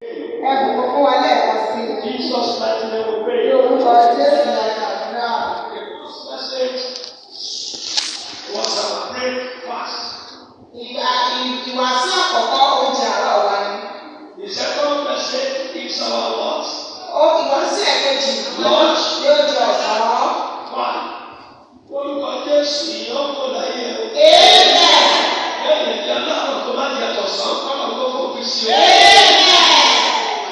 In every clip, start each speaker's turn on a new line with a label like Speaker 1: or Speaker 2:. Speaker 1: ẹ bùkún fún wa lẹ́ẹ̀kan sí i.
Speaker 2: In Jesus' mighty name
Speaker 1: Ní
Speaker 2: we pray.
Speaker 1: orúkọ Jésù la gbàdúrà.
Speaker 2: The first message was our breakfast.
Speaker 1: Ìgbà ìwàásù àkọ́kọ́ ó jẹ àárọ̀ wa ni.
Speaker 2: The second message is our what?
Speaker 1: Ó ìwàásù ẹ̀kejì
Speaker 2: Lunch.
Speaker 1: yóò jẹ ọ̀sán.
Speaker 2: Why? Olùkọ́ Jésù yìí ó kó láyé o.
Speaker 1: Amen.
Speaker 2: Bẹ́ẹ̀ni ìdí aláàrùn tó bá di àtọ̀sán kọ́nà tó fòpin sí o.
Speaker 1: Amen.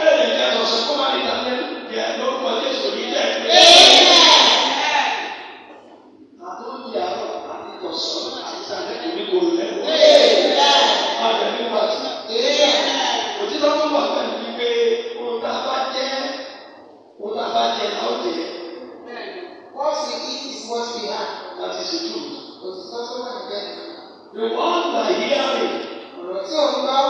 Speaker 2: Bẹ́ẹ̀ni ìdí àtọ̀sán kó má di ìdánilẹ́yẹ lórúkọ Jésù yìí dẹ̀ pé. Àtúndì àárọ̀ àti tọ̀sán àti sàlẹ̀ kò ní kò lẹ̀ o.
Speaker 1: Amen.
Speaker 2: Má jẹ́ nígbà tí.
Speaker 1: Amen.
Speaker 2: òtítọ́ tó wà pẹ̀lú wípé ohun tá a bá jẹ́ ohun tá a bá jẹ́ la ó jẹ́
Speaker 1: What we eat is what we are.
Speaker 2: láti ṣètò.
Speaker 1: Kò sí sọ́tún náà bẹ́ẹ̀.
Speaker 2: The one by hearing
Speaker 1: Ọ̀rọ̀ tí ò ń gbọ́,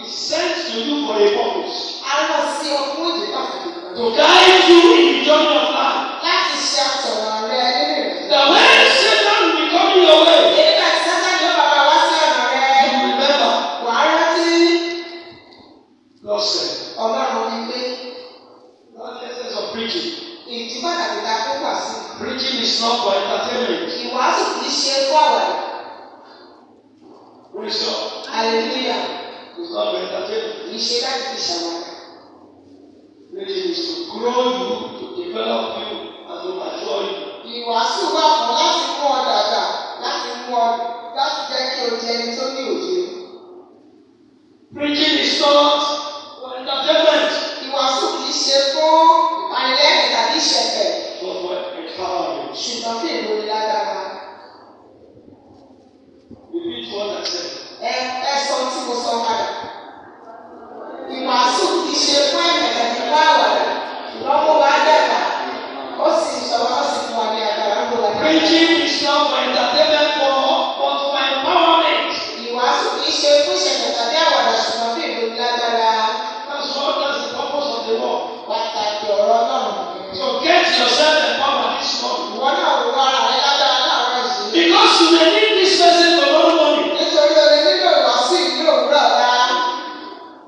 Speaker 2: is sent to you for a purpose
Speaker 1: a lọ sí ọkùn ìdí pàtàkì kan.
Speaker 2: to guide you in the journey of life.
Speaker 1: Láti ṣe àtọ̀rọ̀ rẹ nínú ìrìn.
Speaker 2: The way Satan will be coming your way,
Speaker 1: Nígbà tí Sátán yóò bàbá wá sí ọ̀nà rẹ,
Speaker 2: you remember
Speaker 1: wàá rántí
Speaker 2: God said.
Speaker 1: Ọlọ́run ni pé
Speaker 2: One essence of preaching.
Speaker 1: ìdí pàtàkì ta fún wàásù.
Speaker 2: Preaching is not for entertainment.
Speaker 1: Ìwàásù kì í ṣe fún àwàdà.
Speaker 2: Who is your?
Speaker 1: Hallelujah.
Speaker 2: It's not for entertainment.
Speaker 1: Kì í ṣe láti fi ṣàwàdà.
Speaker 2: Preaching is to grow you, to develop you, and to mature you.
Speaker 1: Ìwàásù wà fún láti mú ọ dàgbà, láti mú ọ láti jẹ́ kí o jẹ ẹni tó ní òye.
Speaker 2: Preaching is not for entertainment,
Speaker 1: Ìwàásù kì í ṣe fún ìpanilẹ́rìn tàbí ìṣẹ̀fẹ̀,
Speaker 2: but for empowerment.
Speaker 1: ṣùgbọ́n fún ìrónilágbára.
Speaker 2: Repeat what I said.
Speaker 1: Ẹ ẹ sọ tí mo sọ padà. Ìwàásù kì í ṣe fún ẹ̀mẹ̀ tàbí fún àwàdà, ṣùgbọ́n mo wá dàgbà. Ó sì ṣọwọ́ ó sì fún wa ní agbára ń bọ̀ wá.
Speaker 2: Preaching is not for entertainment, but, but for empowerment.
Speaker 1: Ìwàásù kì í ṣe fún ìṣẹ̀fẹ̀ tàbí àwàdà, ṣùgbọ́n fún ìrónilágbára.
Speaker 2: That's what that's the purpose of the law.
Speaker 1: Pàtàkì ọ̀rọ̀ náà nìyẹn.
Speaker 2: So get yourself empowered this morning.
Speaker 1: Ìwọ náà wo ara rẹ lágbára láàárọ̀ yìí.
Speaker 2: Because you may need this message tomorrow morning.
Speaker 1: Nítorí o lè nílò ìwàásù yìí ní òwúrọ̀ ọ̀la.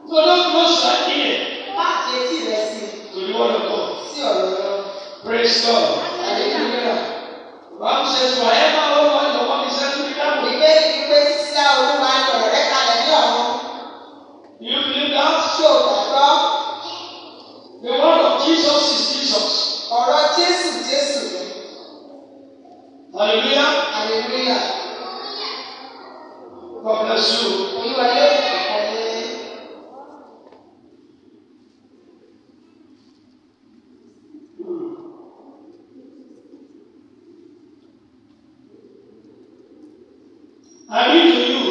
Speaker 2: So don't close your ear
Speaker 1: Páàkì etí rẹ̀ sí
Speaker 2: to the word of God.
Speaker 1: sí ọ̀rọ̀ lọ.
Speaker 2: Praise God.
Speaker 1: Àdéhùnúrà.
Speaker 2: The Bible says, forever, oh Lord, the one is sent to be done.
Speaker 1: Ìgbé ìgbé sísá olúwa ń lọ rẹ̀ kalẹ̀ ní ọ̀run.
Speaker 2: Do you believe that?
Speaker 1: Ṣé o gbàgbọ́?
Speaker 2: The word of Jesus is Jesus.
Speaker 1: Ọ̀rọ̀ Jésù Jésù ni.
Speaker 2: Hallelujah.
Speaker 1: Àdéhùnúrà.
Speaker 2: God bless you.
Speaker 1: Olúwa yóò kọ̀kọ́ ní.
Speaker 2: I read to you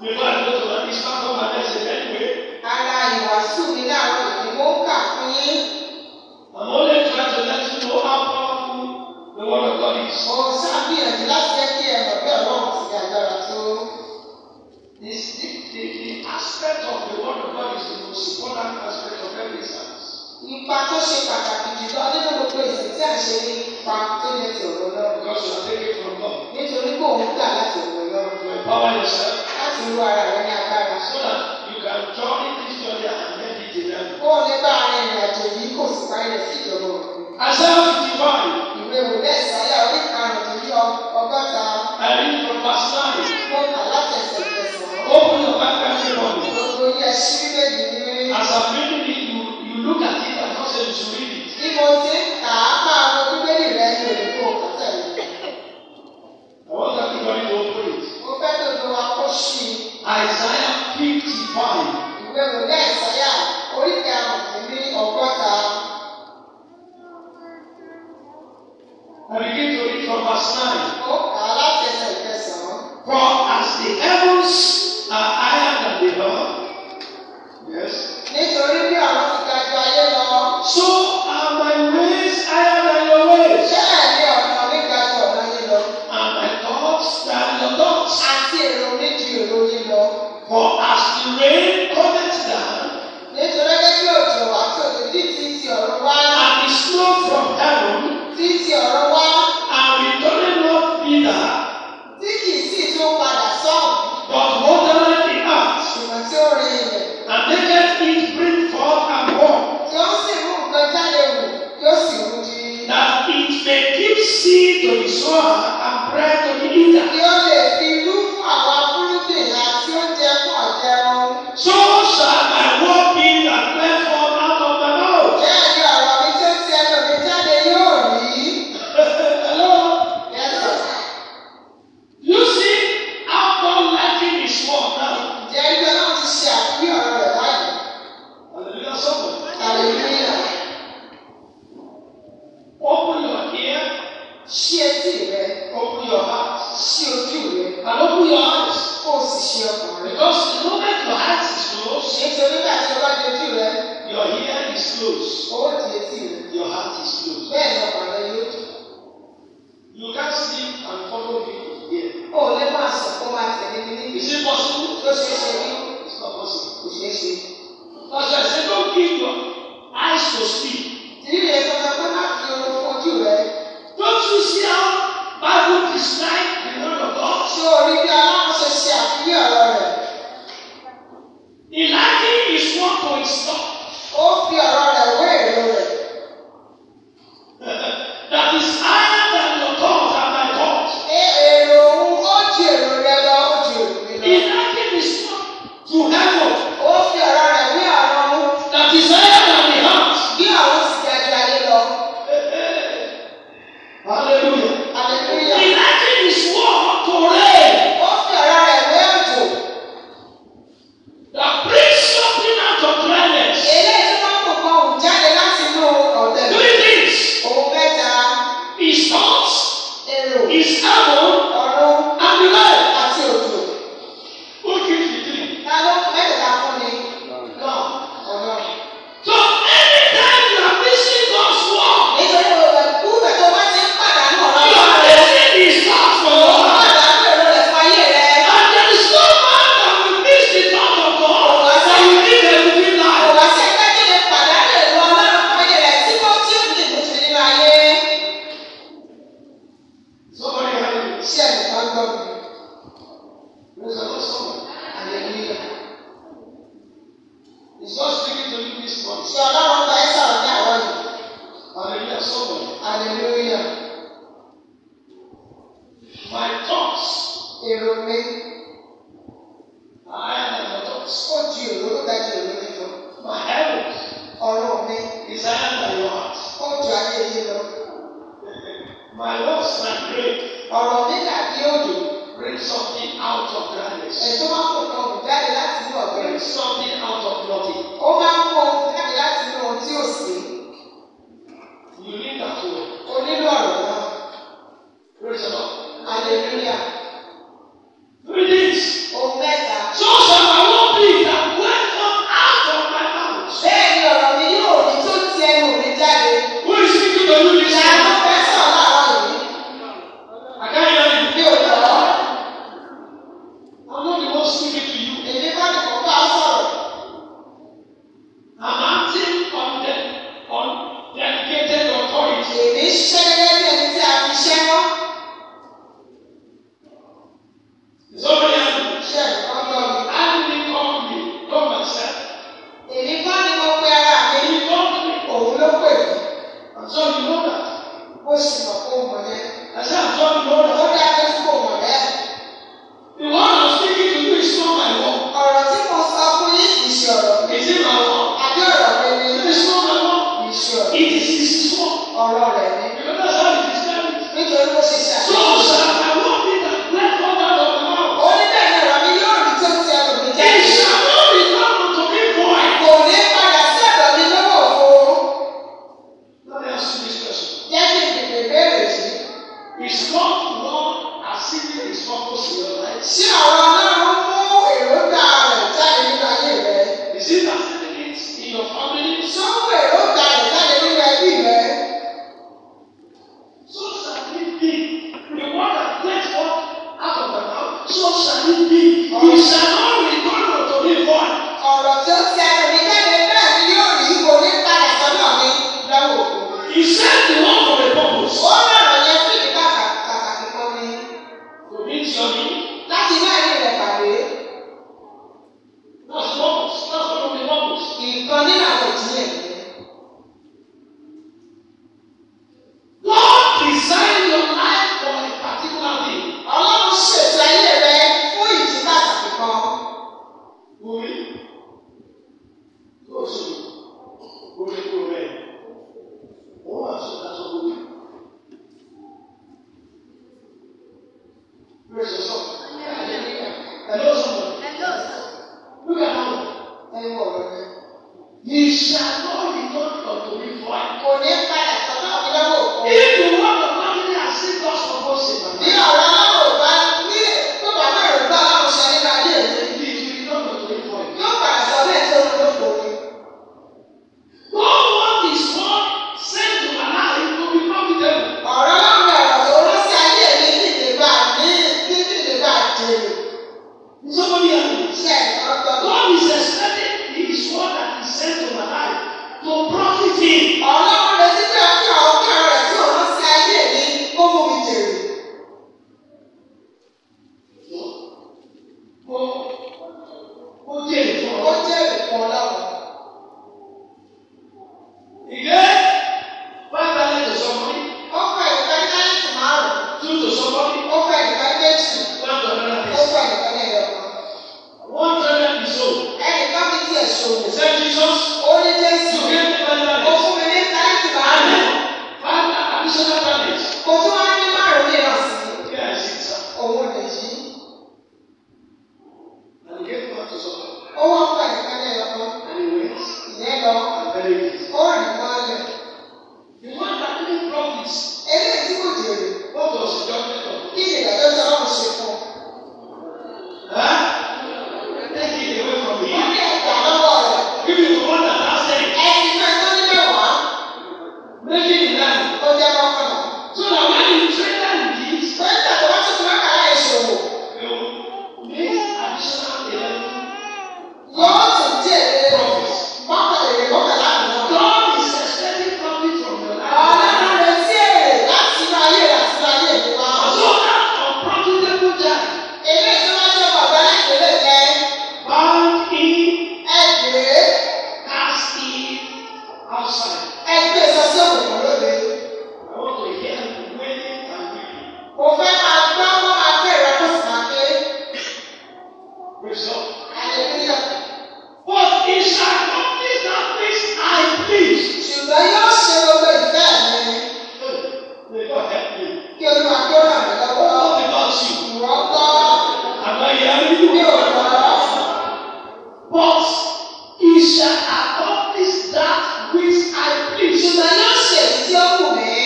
Speaker 2: before I go to my it's not on my message anyway.
Speaker 1: Ara ìwàásù mi láàárọ̀ ni mo ń kà fún yín.
Speaker 2: I'm only trying to let you know how powerful the word of God is.
Speaker 1: Mo ṣàbíyànjú láti jẹ́ kí ẹ mọ̀ bí Ọlọ́run ti agbára tó.
Speaker 2: This, the, the, the aspect of the word of God is the most important aspect of every service.
Speaker 1: Ipa tó ṣe pàtàkì jùlọ nínú gbogbo èsì tí à ń ṣe ní ipa tó lè ti ọ̀rọ̀ lọ́rùn.
Speaker 2: Because you are taking from God.
Speaker 1: Nítorí pé òun gbà láti ọ̀rọ̀ lọ́rùn.
Speaker 2: You empower yourself
Speaker 1: Láti ru ara rẹ ní agbára.
Speaker 2: so that you can join this journey and make it in heaven.
Speaker 1: Ó lè bá ara ìrìn àjò yìí kò sì parí rẹ̀ sí ìjọba òun.
Speaker 2: Isaiah 55,
Speaker 1: Ìwé òwe ìsáyà orí karùn-ún ní ọgọ́ta
Speaker 2: I read from verse
Speaker 1: mo kà láti ẹsẹ̀ kẹsàn-án.
Speaker 2: 9. Open your Bible everyone.
Speaker 1: Gbogbo yẹ ṣí méjì ní.
Speaker 2: As I'm reading it, you, you look at it and also you should read it.
Speaker 1: Bí mo ti ń kà á máa wo bíbélì rẹ ní òyìnbó kọ́tẹ̀lẹ̀.
Speaker 2: I want everybody to open it.
Speaker 1: Mo fẹ́ tó lo akọ́ṣí
Speaker 2: Isaiah 55.
Speaker 1: ìwé òwe ìsáyà orí karùn-ún ní ọgọ́ta.
Speaker 2: I begin to read from verse 9.
Speaker 1: Ó kà á láti ẹsẹ̀ ìkẹsàn-án.
Speaker 2: For as the heavens are higher than the earth, yes,
Speaker 1: Nítorí bí ọ̀run ti ga ju ayé lọ,
Speaker 2: so are my ways higher than your ways,
Speaker 1: bẹ́ẹ̀ ni ọ̀nà mi ga ju ọ̀nà yín lọ,
Speaker 2: and my thoughts than your thoughts.
Speaker 1: àti èrò mi ju èrò yín lọ.
Speaker 2: For as the rain cometh down,
Speaker 1: Nítorí gẹ́gẹ́ bí òjò wá tí òjò ní ti ti ọ̀run wá,
Speaker 2: and the snow from heaven,
Speaker 1: ti ti ọ̀run wá,
Speaker 2: and returning not to be sown and bread to be eaten.
Speaker 1: Kí ó lè fi irú fún àwọn afúrúgbìn àti oúnjẹ fún ọ̀jẹ̀ wọn.
Speaker 2: So shall my word be that went forth out of the mouth.
Speaker 1: Bẹ́ẹ̀ ni ọ̀rọ̀ mi tó ti ẹnu mi jáde yóò rí.
Speaker 2: Hello?
Speaker 1: Yẹ́sọ̀,
Speaker 2: You see how God liking his word now.
Speaker 1: ǹjẹ́ ilé náà ti ṣe àfihàn ọ̀rọ̀ rẹ̀ báyìí?
Speaker 2: Hallelujah, somebody.
Speaker 1: Hallelujah.
Speaker 2: Open your ear,
Speaker 1: Ṣí etí rẹ,
Speaker 2: open your heart,
Speaker 1: ṣí ojú rẹ,
Speaker 2: and open your eyes.
Speaker 1: kó o sì ṣe ọkàn rẹ.
Speaker 2: Because the moment your heart is closed,
Speaker 1: Nítorí nígbà tí o bá di ojú rẹ,
Speaker 2: your ear is closed,
Speaker 1: owó di etí rẹ.
Speaker 2: your heart is closed.
Speaker 1: Bẹ́ẹ̀ ni ọkàn rẹ yóò dùn.
Speaker 2: You can't sleep and follow people here.
Speaker 1: O ò lè máa sùn kó máa tẹ̀lé mi níbi
Speaker 2: Is it possible?
Speaker 1: tó ṣe é ṣe rí.
Speaker 2: It's not possible.
Speaker 1: Kò ṣeé ṣe.
Speaker 2: That's why I say don't give your eyes to sleep.
Speaker 1: Ìdílé yẹn sọ pé má fi oorun fún ojú rẹ.
Speaker 2: Don't you see how Bible describes the word of God?
Speaker 1: Ṣé o rí bí Ọlọ́run ṣe ṣe àfihàn ọ̀rọ̀ rẹ̀?
Speaker 2: He likened his word to his tongue.
Speaker 1: Ó fi ọ̀rọ̀ rẹ̀ wé èrò rẹ̀.
Speaker 2: That is higher than your thoughts and my thoughts.
Speaker 1: Ẹ èrò òun ó ju èrò rẹ lọ, ó ju èrò mi lọ.
Speaker 2: He likened his word to heaven.
Speaker 1: Ó fi ọ̀rọ̀ rẹ̀ wé ọ̀rọ̀ òun.
Speaker 2: That is higher than the heart.
Speaker 1: Bí ọ̀run sì ga ju ayé lọ.
Speaker 2: Hallelujah.
Speaker 1: Hallelujah.
Speaker 2: He likened his word to rain.
Speaker 1: Ó fi ọ̀rọ̀ rẹ̀ wé òjò.
Speaker 2: That brings something out of dryness.
Speaker 1: Eléyìí tí wọ́n mú kan òun jáde láti inú ọ̀dẹ̀.
Speaker 2: Three things.
Speaker 1: Òun mẹ́ta
Speaker 2: His thoughts,
Speaker 1: èrò
Speaker 2: his heaven,
Speaker 1: ọ̀run
Speaker 2: and the land.
Speaker 1: àti òjò.
Speaker 2: Who gives the three?
Speaker 1: Ta ló mẹ́tẹ̀ẹ̀ta fún ni?
Speaker 2: Now,
Speaker 1: Ọlọ́run.
Speaker 2: So anytime you are missing God's word,
Speaker 1: Nítorí gbogbo ìgbà tó bá ti ń pàdánù ọ̀rọ̀
Speaker 2: you are
Speaker 1: Ọlọ́run.
Speaker 2: missing His thoughts for
Speaker 1: Ó
Speaker 2: your life.
Speaker 1: pàdánù èrò rẹ̀ fún ayé rẹ̀.
Speaker 2: And there is no man that will miss the thought of God that will live a living
Speaker 1: Kò
Speaker 2: life.
Speaker 1: wá sí pé kí ni pàdánù èrò Ọlọ́run fún ayé rẹ̀ tí kò tí ò lè gbèsè nínú ayé.
Speaker 2: Somebody help me.
Speaker 1: Ṣé ẹnìkan gbọ́ mi?
Speaker 2: There's another someone.
Speaker 1: Hallelujah.
Speaker 2: It's not speaking to you this morning.
Speaker 1: Ṣé Ọlọ́run bá ẹ sọ̀rọ̀ ní àwọn yìí?
Speaker 2: Hallelujah, someone.
Speaker 1: Hallelujah.
Speaker 2: My thoughts
Speaker 1: Èrò mi
Speaker 2: are higher than your thoughts.
Speaker 1: ó ju èrò ló ga ju èrò mi lọ.
Speaker 2: My heaven
Speaker 1: Ọ̀rọ̀ mi
Speaker 2: is higher than your heart.
Speaker 1: ó ju ayé yìí lọ.
Speaker 2: My words, my grave,
Speaker 1: Ọ̀rọ̀ mi dàbí òjò.
Speaker 2: bring something out of dryness.
Speaker 1: Ẹ̀tọ́ máa ń kó kan òun jáde láti inú ọ̀gbẹ́.
Speaker 2: Bring something out of nothing.
Speaker 1: Ó máa ń kó ohun jáde láti inú ohun tí ò sí.
Speaker 2: You need that word.
Speaker 1: O nílò ọ̀rọ̀ náà.
Speaker 2: Praise the Lord.
Speaker 1: Hallelujah.
Speaker 2: Three things.
Speaker 1: Ohun mẹ́ta.
Speaker 2: So shall my word be that went forth out of my mouth.
Speaker 1: Bẹ́ẹ̀ ni ọ̀rọ̀ mi yóò rí tó ti ẹnu mi jáde.
Speaker 2: Who is speaking to you this
Speaker 1: Ìyá ló
Speaker 2: morning?
Speaker 1: fẹ́ sọ̀rọ̀ láàárọ̀ yìí.
Speaker 2: I can't hear
Speaker 1: Mi
Speaker 2: you.
Speaker 1: ò lọ.
Speaker 2: I'm not the one speaking to you.
Speaker 1: Èmi kọ́ ni kò bá sọ̀rọ̀.
Speaker 2: I'm acting on the on delegated authority.
Speaker 1: Èmi ṣiṣẹ́ gẹ́gẹ́ bí ẹni tí a fi ṣẹ́ wọ́n.
Speaker 2: Somebody help me.
Speaker 1: Ṣé ẹ̀kọ́ lọ mi?
Speaker 2: I didn't call me. Call myself.
Speaker 1: Èmi kọ́ ni mo pe ara mi.
Speaker 2: He called me.
Speaker 1: Òun ló pè mí.
Speaker 2: I'm sure you know that.
Speaker 1: Ó sì mọ̀ kó mọ̀ yẹn.
Speaker 2: I said, I'm sure you know
Speaker 1: Ó
Speaker 2: that.
Speaker 1: dájú kó mọ̀ bẹ́ẹ̀.
Speaker 2: The one I'm speaking to you is not my
Speaker 1: Ọ̀rọ̀ tí mo sọ fún yín kì í ṣe ọ̀rọ̀
Speaker 2: word.
Speaker 1: mi.
Speaker 2: Is it my
Speaker 1: Àbí ọ̀rọ̀ mi ni
Speaker 2: word? It is not my word.
Speaker 1: kì í ṣe ọ̀rọ̀.
Speaker 2: It is his word.
Speaker 1: Ọ̀rọ̀ rẹ̀ ni.
Speaker 2: You understand it is telling.
Speaker 1: Nítorí bó ṣe ṣe
Speaker 2: So
Speaker 1: àṣeyọrí.
Speaker 2: shall my word be that went forth out of my mouth.
Speaker 1: Ó ní bẹ́ẹ̀ ni ọ̀rọ̀ mi yóò rí tó ti ẹnu mi
Speaker 2: It
Speaker 1: jáde.
Speaker 2: shall not return unto me void.
Speaker 1: Kò ní padà sí ọ̀dọ̀ mi lọ́wọ́ òfo.
Speaker 2: Now let me ask you this question.
Speaker 1: Jẹ́ kí n bèbè béèrè yìí.
Speaker 2: Is God one achieving his purpose in your life?
Speaker 1: Ṣé ọ̀rọ̀ Ọlọ́run mú èròǹgbà rẹ̀ jáde nínú ayé rẹ?
Speaker 2: Is it achieving it in your family?
Speaker 1: Ṣé ó mú èròǹgbà rẹ̀ jáde nínú ẹbí rẹ?
Speaker 2: So shall it be. The one that went forth out of my mouth, so shall it be. It shall not return unto me void.
Speaker 1: Ọ̀rọ̀ tí ó ti ẹnu mi jáde bẹ́ẹ̀ ni yóò rí kò ní padà sọ́dọ̀ mi lọ́wọ́ òfo.
Speaker 2: He sent the one for a purpose.
Speaker 1: Ó lọ̀rọ̀ yẹn fún ìdí bàbà pàtàkì kan ni
Speaker 2: To meet your need.
Speaker 1: láti bá ẹni rẹ̀ pàdé.
Speaker 2: That's purpose. That's one of the purpose.
Speaker 1: Ìkan nínú àwọn
Speaker 2: Ye shall not return unto me void.
Speaker 1: kò ní padà sọ́dọ̀ mi lọ́wọ́ òkú.
Speaker 2: If the word of family has seen God's purpose
Speaker 1: bí
Speaker 2: in my life,
Speaker 1: ọ̀rọ̀ náà ò bá ní tó bá náà rò bá ọ̀rọ̀ ṣe nípa ayé rẹ̀
Speaker 2: it will return unto me void.
Speaker 1: yóò padà sọ bẹ́ẹ̀ tó ń lóko ni.
Speaker 2: God want His word sent to my life to be profitable.
Speaker 1: ọ̀rọ̀ náà ń bẹ̀rẹ̀ tó rọ́ sí ayé mi kí lè bá ní kí lè bá jèrè.
Speaker 2: Is Somebody hear me.
Speaker 1: ṣe ọ̀tọ̀ tó
Speaker 2: God is expecting His word that He sent to my life to profit Him.
Speaker 1: ọ̀rọ̀ rẹ̀ ti bẹ̀rẹ̀ kí àwọn kan rẹ̀ tó rọ́ sí ayé mi kó mú mi jèrè.
Speaker 2: No. oh, Go, go get it
Speaker 1: ó
Speaker 2: from
Speaker 1: jèrè fún ọlọ́run.
Speaker 2: oh. Again, five thousand to somebody,
Speaker 1: ó fẹ́ ìfẹ́ náírà márùn-ún.
Speaker 2: two to somebody,
Speaker 1: ó fẹ́ ìfẹ́ méjì.
Speaker 2: one to
Speaker 1: ó
Speaker 2: another
Speaker 1: fẹ́
Speaker 2: person.
Speaker 1: ìfẹ́ lẹ́yọ̀kan.
Speaker 2: One hundred is sold.
Speaker 1: ẹnìkan fi tiẹ̀ ṣòwò.
Speaker 2: Except Jesus,
Speaker 1: ó ní
Speaker 2: you
Speaker 1: jésù.
Speaker 2: get the five
Speaker 1: ó
Speaker 2: thousand.
Speaker 1: fún mi ní náírà
Speaker 2: And
Speaker 1: márùn-ún.
Speaker 2: then, five additional talents.
Speaker 1: kò tún wá ní márùn-ún mìíràn sí i.
Speaker 2: Here I sit, sir.
Speaker 1: òun nìyí.
Speaker 2: And he gave one to somebody.
Speaker 1: ó wá fún ìfẹ́ lẹ́yọ̀kan.
Speaker 2: And he went
Speaker 1: ìyẹn lọ.
Speaker 2: and buried it.
Speaker 1: ó rìn mọ́lẹ̀.
Speaker 2: The one that didn't profit,
Speaker 1: eléyìí tí kò jèrè.
Speaker 2: what was the judgment
Speaker 1: kí ni ìdájọ́ tí ọlọ́run ṣe fún un.
Speaker 2: of? Huh? Take it away from
Speaker 1: wọ́n
Speaker 2: me.
Speaker 1: ní ẹ̀gbà lọ́wọ́ rẹ̀.
Speaker 2: Give it to one that has ten.
Speaker 1: ẹni fẹ́ tó ní mẹ́wàá
Speaker 2: Make it in line.
Speaker 1: ó jẹ́ mọ́kànlá.
Speaker 2: So that when you trade that in gifts,
Speaker 1: pẹ́ńtà tó bá tún fi mọ́kànlá yẹn ṣòwò
Speaker 2: you make additional eleven.
Speaker 1: yóò tún e jèrè mọ́kànlélẹ̀ mọ́kànlá àná.
Speaker 2: God is expecting profit from your life.
Speaker 1: ọlọ́run retí èrè láti inú ayé rẹ̀ àti inú ayé mi wá.
Speaker 2: So that unprofitable debt
Speaker 1: eléyìí tó bá jẹ́ bàbá láìpẹ́lẹ̀ jẹ́
Speaker 2: bound in,
Speaker 1: ẹgbẹ́
Speaker 2: cast in, outside.
Speaker 1: ẹgbẹ́ ìsọsí e òkùnkùn lóde.
Speaker 2: I want to hear you wailing and weeping.
Speaker 1: mo fẹ́ máa gbọ́ kó máa gbé ìrẹ́pọ̀ sí máa gbé.
Speaker 2: Result.
Speaker 1: Hallelujah.
Speaker 2: But it shall accomplish that which I please.
Speaker 1: ṣùgbọ́n yóò ṣe gbogbo ìfẹ́ mi
Speaker 2: May God help me.
Speaker 1: kí olúwa kí ó ràn mí lọ́wọ́.
Speaker 2: What about you?
Speaker 1: ìwọ́n gbọ́
Speaker 2: Am I hearing
Speaker 1: mi
Speaker 2: you?
Speaker 1: ò lọ́ọ́.
Speaker 2: But it shall accomplish that which I please.
Speaker 1: ṣùgbọ́n yóò ṣe èyí tí ó kù mí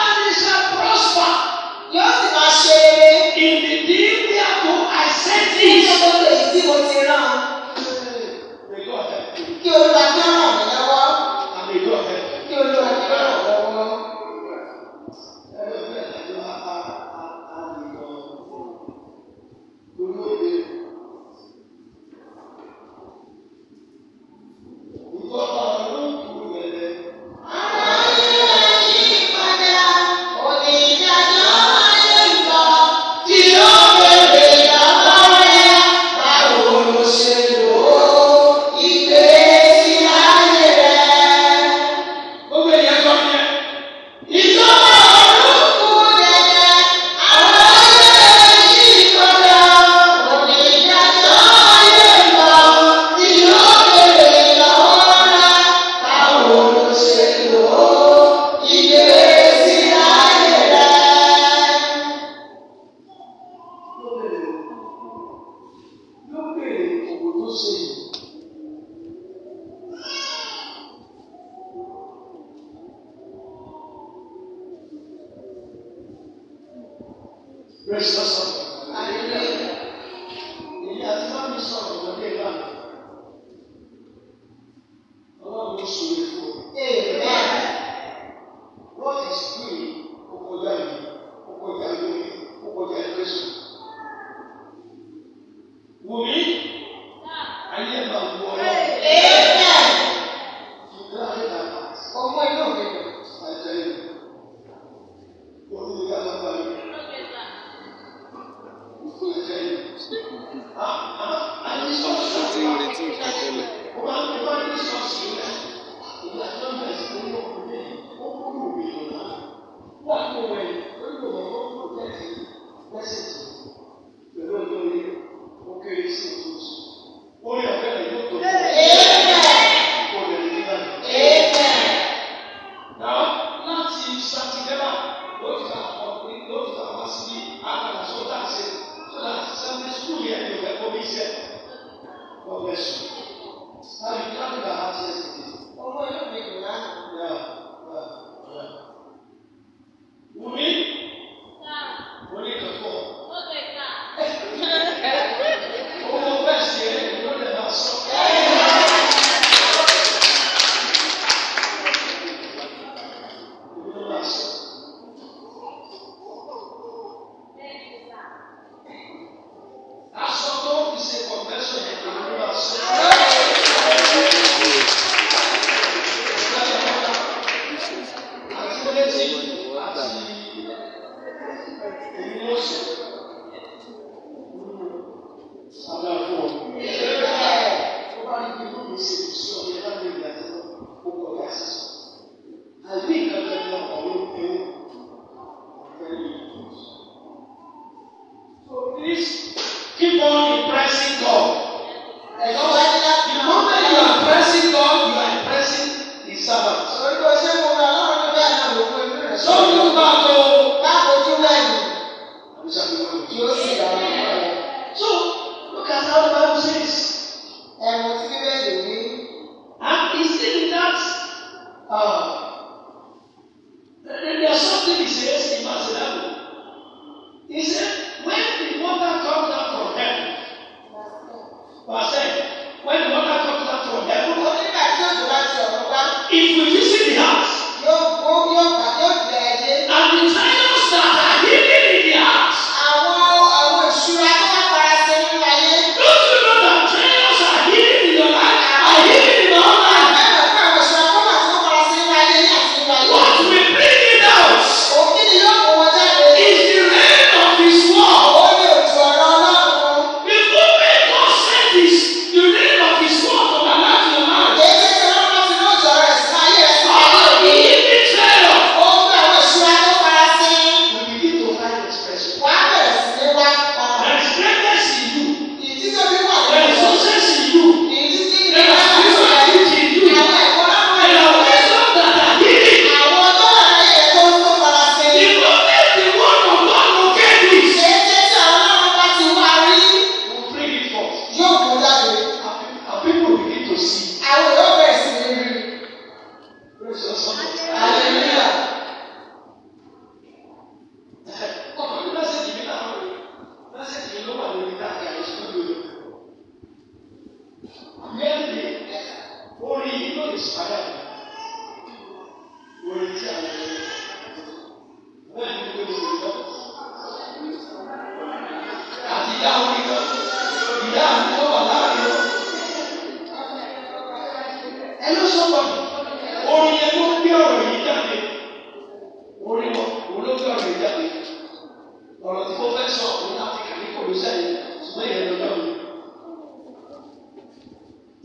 Speaker 2: And it shall prosper.
Speaker 1: yóò sì máa ṣe eré
Speaker 2: In the day therefore I sent
Speaker 1: nínú
Speaker 2: it.
Speaker 1: gbogbo èyí tí mo ti rán an.
Speaker 2: May God help you.
Speaker 1: kí olúwa kí ó ràn mí lọ́wọ́
Speaker 2: And may God help
Speaker 1: kí olúwa kí ó ràn mí lọ́wọ́.
Speaker 2: you. Ẹ̀rọ bẹ́ẹ̀ ni a a a a lè lọ lórí òde. Ìjọba ló ń kú lẹ́lẹ́.
Speaker 1: Àwọn ayé ayé ìpadà òní ìdájọ́ ayé ìgbà tí ó bèrè ìdájọ́ rẹ̀ báwo ló ṣe lò ó ìgbésí ayé rẹ̀.
Speaker 2: Gbogbo èèyàn kọ́ ni ẹ.
Speaker 1: Ìjọba olókùn dẹ̀dẹ̀, àwọn ẹgbẹ́ yìí kọjá, òní ìdájọ́ ayé lọ, tí yóò bèrè ìlọ́wọ́ rẹ̀, báwo ló ṣe lò ó, ìgbésí ayé rẹ̀.
Speaker 2: Ló bèrè òwò tó ṣe yìí. Praise God, son. Èyí àti máa mi sọ̀rọ̀ lọ́dẹ ìlànà. Ọlọ́run ló ṣòro fún ọ. What is doing ó kọjá yìí, ó kọjá lórí, ó kọjá ìrẹsùn. Wùmí, ayé ẹ̀ máa wọ ọ́. Ìgbà ayé náà máa sọ. I tell you, what do you got about you? eh, eh, Uh, there- there- there's something he says in verse 11. He said, when the water comes out from heaven, verse 10, when the water comes out from heaven, it will visit the house. And the trials that are hidden in the house. Don't you know that trials are hidden in your life? Are hidden in your life? What will bring it out is the rain of His word. The moment God sent His, the rain of His word from Allah to your life. All of the hidden trials. We begin to find expression. There is greatness in you. There is success in you. There are spirituality in you. There are wisdom that are hidden. The moment the word of God locate this, will bring it forth. And pe- and people begin to see. Praise the Lord. Ọkọ mi lọ́sẹ̀ tìmí náà wọlé. Lọ́sẹ̀ tìmí ló wà lórí dáadáa ìṣòro. Yẹ́nì orin yìí ló lè sọ́dọ̀. Orin tí a lè lọ. Bẹ́ẹ̀ ni ló lè lọ. Àti ìdá orin lọ. Ìdá àmì tó wà láàrin lọ. Ẹ ló sọ pọ̀ mí. Orin yẹn ló gbé ọ̀rọ̀ yìí jáde. Orin wọn, òun ló gbé ọ̀rọ̀ yìí jáde ọ̀rọ̀ tí mo fẹ́ sọ òun láti kà ní kòlóṣà yìí ṣùgbọ́n ìyẹn lọ́jọ́ mi.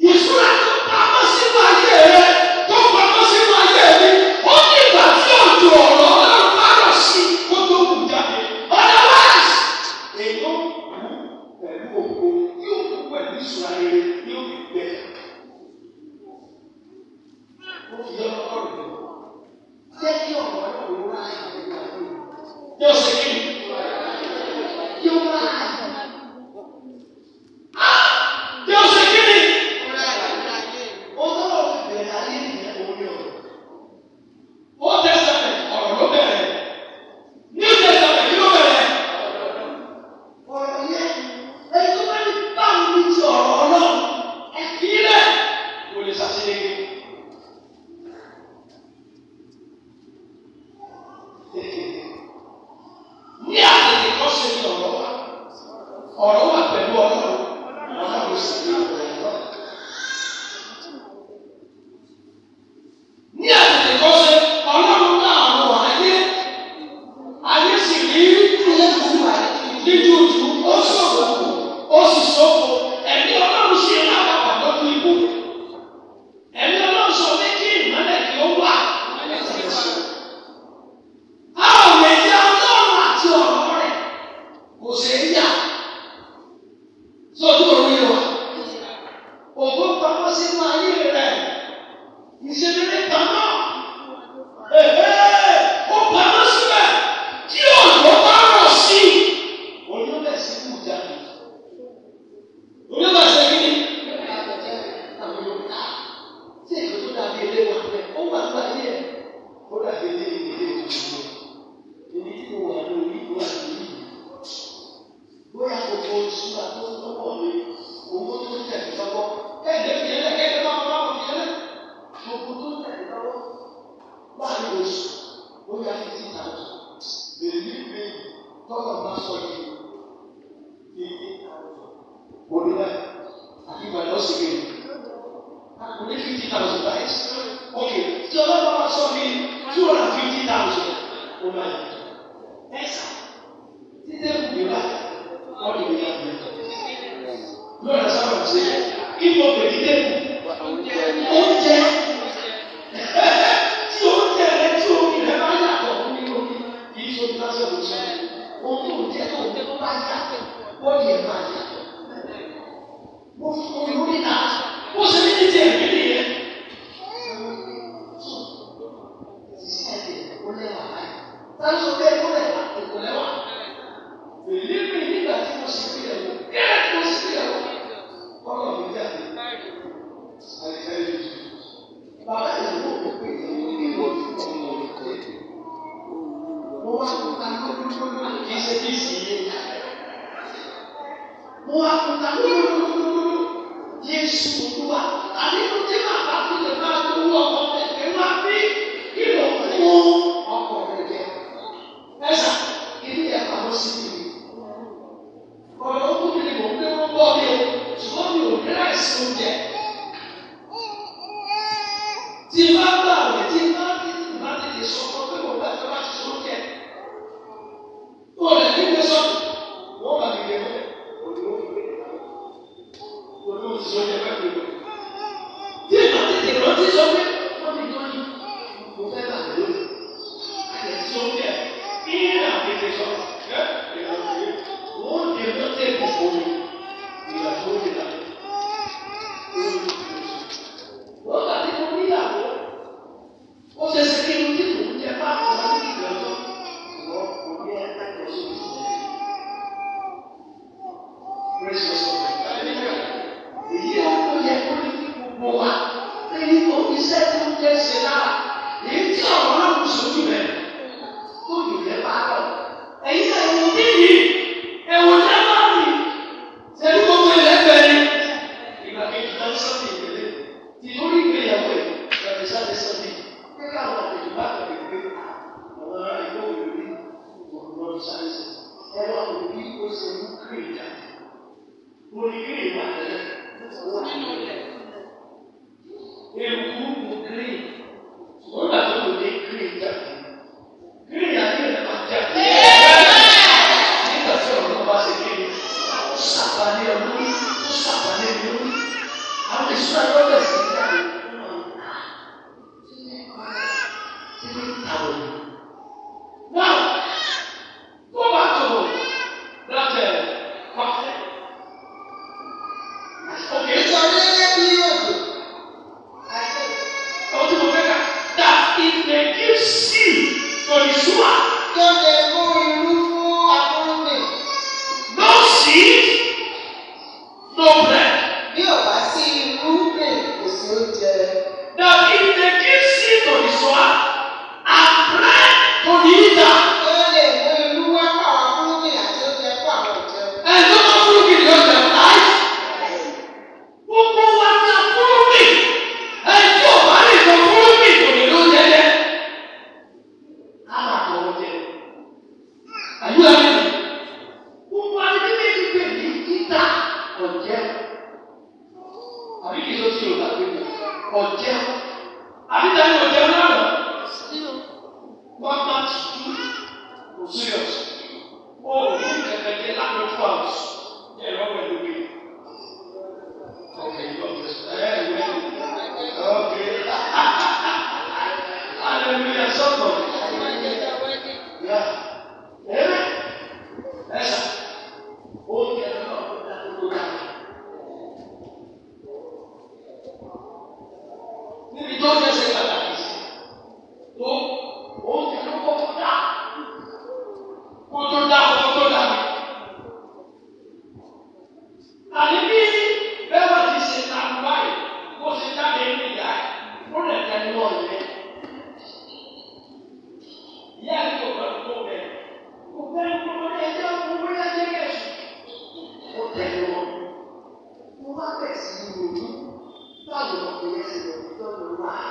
Speaker 2: Ìṣúra tó pamọ́ sínú ayé rẹ tó pamọ́ sínú ayé mi ó ní ìgbà tí òjò ọ̀rọ̀ ọlọ́run bá rọ̀ sí kó tó kù jáde. Otherwise, èyí ó kú pẹ̀lú ògo yóò kú pẹ̀lú ìṣúra rere ní òkú bẹ́ẹ̀. Ó fi yọ ọ̀rọ̀ lọ. Jẹ́ kí ọ̀rọ̀ náà wúrà ìgbà tó. Yóò ṣe kí ni? Yóò ṣe kí ni? Old Testament ọ̀rọ̀ ló bẹ̀rẹ̀. New Testament kí ló bẹ̀rẹ̀? Ọ̀rọ̀ yẹn, ẹni tó bá ní báwo ni ti ọ̀rọ̀ ọlọ́run? Ẹ fi í lẹ̀. Kò lè ṣàṣeyege. Ní àtẹ̀lé kan ṣe ní ọ̀rọ̀ wa. Ọ̀rọ̀ wà pẹ̀lú ọlọ́run. Ọlọ́run sì ní ọ̀rọ̀ ọlọ́run. ní àtẹ̀tẹ̀ kọ́ ṣe ọlọ́run náà lọ ayé ayé sì rí níjú ojú ó ṣòfò ó sì ṣòfò ẹ̀mí ọlọ́run ṣe lápapọ̀ lọ́dún ikú ẹ̀mí ọlọ́run sọ pé kí ìmọ̀lẹ̀ kí ó wà a ò lè jẹ́ ọlọ́run àti ọ̀rọ̀ rẹ̀ kò ṣe é yà sọ́dún orí wa ògbó pamọ́ sínú ayé rẹ̀ ìṣèlérí pamọ́ ẹ̀ẹ́ ó pamọ́ síbẹ̀ tí òjò bá rọ̀ sí i onílẹ̀ sí kù jáde onílẹ̀ sí kí ni àwọn yorùbá tí èdè tó dàbí ilé wà pẹ́ ó wà gba ilé ẹ̀ ó dàbí ilé ilé ìdòdò èmi tí mo wà lórí ìlú àdúgbò bóyá gbogbo ìṣúra tó ń lọ́wọ́ mi owó tó ń tẹ̀lé lọ́wọ́ kẹ́kẹ́ fi ẹlẹ́ kẹ́kẹ́ máa ń bá wọn fi ẹlẹ́ gbogbo tó ń tẹ̀lé lọ́wọ́ láàrin oṣù bóyá fifty thousand èyí mi tọ́lọ̀ bá sọ yìí fifty thousand onílẹ̀ àti ìgbàlẹ̀ ọ̀sẹ̀ kejì kò ní fifty thousand báyìí ok tí ọlọ́pàá bá sọ mi two hundred and fifty thousand ó máa yẹ ẹ sà títí ẹ̀kú mi bá ọ̀dọ̀ mi yà mí lọ́dọ̀ sábà ṣe ìfọ̀ pẹ̀lú ẹ̀kú oúnjẹ tí oúnjẹ rẹ tí omi rẹ bá yàtọ̀ fún mi lórí kì í ṣe omi lásán ló ṣe ohun tó ń jẹ tó ń jẹ tó bá yàtọ̀ bọ́ọ̀lì ẹ̀ máa yàtọ̀ mo fún omi lórí náà ó ṣe ní títí ẹ̀mí ni ẹ̀. Sísẹ́ẹ̀tì ó lẹ́wà báyìí. Táyọ̀ ìrísí yìí. Mo wá kúta lólólólólóló. Jésù Olúwa. Àdínú tí bàbá fi lè máa gbowó ọkọ̀ kẹ̀kẹ́ wá bí ìlò fún ọkọ̀ kẹ̀kẹ́. Ẹ̀sà ilé ẹ̀ka ló sì ní. Ọ̀rọ̀ ọkùnrin ni mò ń gbé wọ́n bọ́ mi o. Ṣùgbọ́n mi ò rí àìsàn oúnjẹ tí bá gbà wẹ̀ tí bá bí tí bá tètè sọ fún pé mo bá tẹ bá ti sọ jẹ. Mo rẹ̀ ní ilé sọ, wọ́n bá mi lẹ́nu, olùwọ́ fi lè ta. Olùwọ́ ti sọ jẹ bá mi lọ. Tí bá tètè lọ sí sọ pé wọ́n mi lọ ní. Mo fẹ́ bà mí lónìí. Àyẹ̀ tí ó jẹ, kí ni àpètè sọ? Ẹ́ ìlànà yìí, wọ́n lè lọ sí ìkọ̀kọ̀ mi. Ìgbà tó lè ta. Wọ́n gbà tí mo níyàwó. Ó ṣe ṣe kí irun tí mò ń jẹ bá àwọn onídìbò ọjọ́. Ṣùgbọ́n kò ní ẹ̀ka tó ṣe fún mi. Praise the Lord. Hallelujah. Èyí ó kó yẹ kó ní kí gbogbo wa. Èyí kò fi iṣẹ́ tí ó jẹ́ ṣe lára. Èyí tí ọ̀rọ̀ náà kò sojú rẹ̀. Tó yìí rẹ̀ bá lọ. Ẹ̀yin náà ẹ̀wọ̀n níyì. Ẹ̀wọ̀n náà bá mi. Ṣé ní gbogbo ilẹ̀ bẹ̀rẹ̀? Ìgbà kejì náà sọ́ọ̀tì ìgbèlè ti lórí ìgbéyàwó ẹ̀ lọ́dẹ sáré sọ́dẹ pé káwọn àlejò bá bẹ̀rẹ̀ pé àwọn ará ìlú òwe rí ọ̀rọ̀ lọ́dẹ sáré sọ ẹ wá wò bí ó ṣe mú kiri ìjà mo ní kiri ìwà tẹ̀lé wọ́n nínú rẹ̀ ewu mo kiri wọ́n gbà tó lò ní kiri ìjà kiri ìjà kiri ìjà máa jà nígbà tí ọ̀rọ̀ náà bá ṣe kiri ó ṣàpàdé ọdún ó ṣàpàdé ọdún àwọn ìṣúná tó bẹ̀ sí jáde fún ọ̀hún. Ṣé ní ìtàwọ̀ ni? Náà, go back to that uh, coffee. Okay, so ọdún mo fẹ́ kà that it may give seal to the sewer. No seed, no bread. Now if they give seed to the sower and bread to the eater, and not only give them their life, gbogbo wa ni a kúrú mi. Ẹni ò bá lè sọ kúrú mi kò ní ló jẹ jẹ. A máa tọ̀ ọ́ jẹ. Àyù ẹ̀mí mi. Gbogbo wa ni bí méjì pè ní títà ọ̀jẹ́. Àbí kìí sọ sí Yorùbá pé ọ̀jẹ́. no, no, niin Ah. é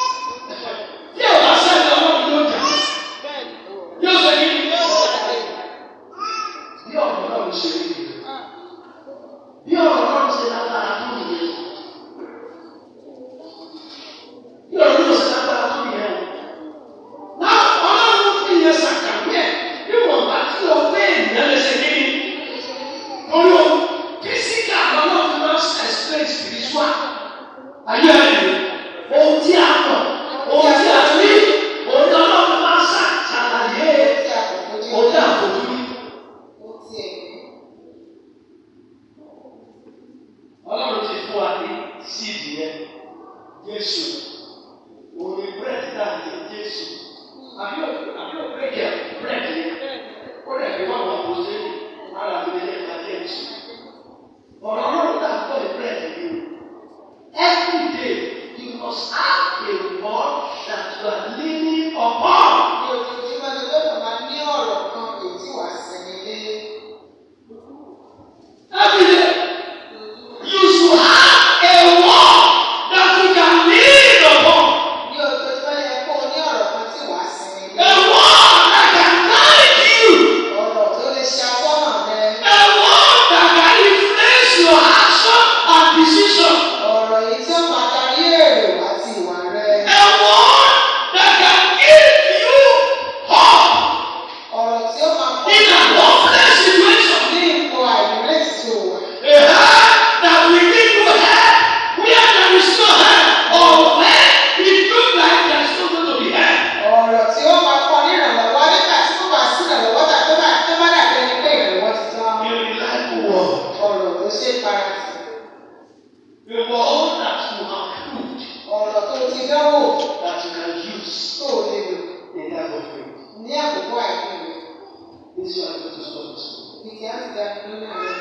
Speaker 2: Ah, Ah, àgbà leaning upon. That is it. You should have a wall that you can lean upon. A wall that can guide you. A wall that can influence your action and decision. A wall that can give you hope in an hopeless situation. A hand that will give you help where there is no help or where it looks like there is no going to be help.
Speaker 1: ọ̀rọ̀ tí ó máa kọ ní ìrànlọ́wọ́ nígbà tí kò bá sí ìrànlọ́wọ́ tàbí tó bá tó bá dàbí ẹni pé ìrànlọ́wọ́ ti tán.
Speaker 2: A reliable wall.
Speaker 1: ọ̀rọ̀ tó ṣe farasí
Speaker 2: A wall that you have proved
Speaker 1: ọ̀rọ̀ tó ti dánwò
Speaker 2: that you can use
Speaker 1: tó o lè lò
Speaker 2: in that moment.
Speaker 1: ní àkókò àìpẹ́ rẹ̀
Speaker 2: This is why I'm going to stop this one.
Speaker 1: ìdí á ti dàbí nínú rẹ̀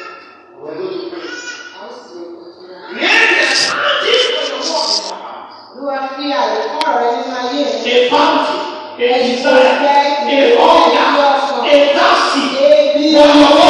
Speaker 2: We're going to pray.
Speaker 1: a ó sì lè kojú rẹ̀.
Speaker 2: Create a strategy for your work in our heart.
Speaker 1: ló wá fi àwòkọ́ rẹ̀ nínú ayé rẹ̀
Speaker 2: a bounty, a desire, a hunger, a thirst
Speaker 1: ebi
Speaker 2: for your work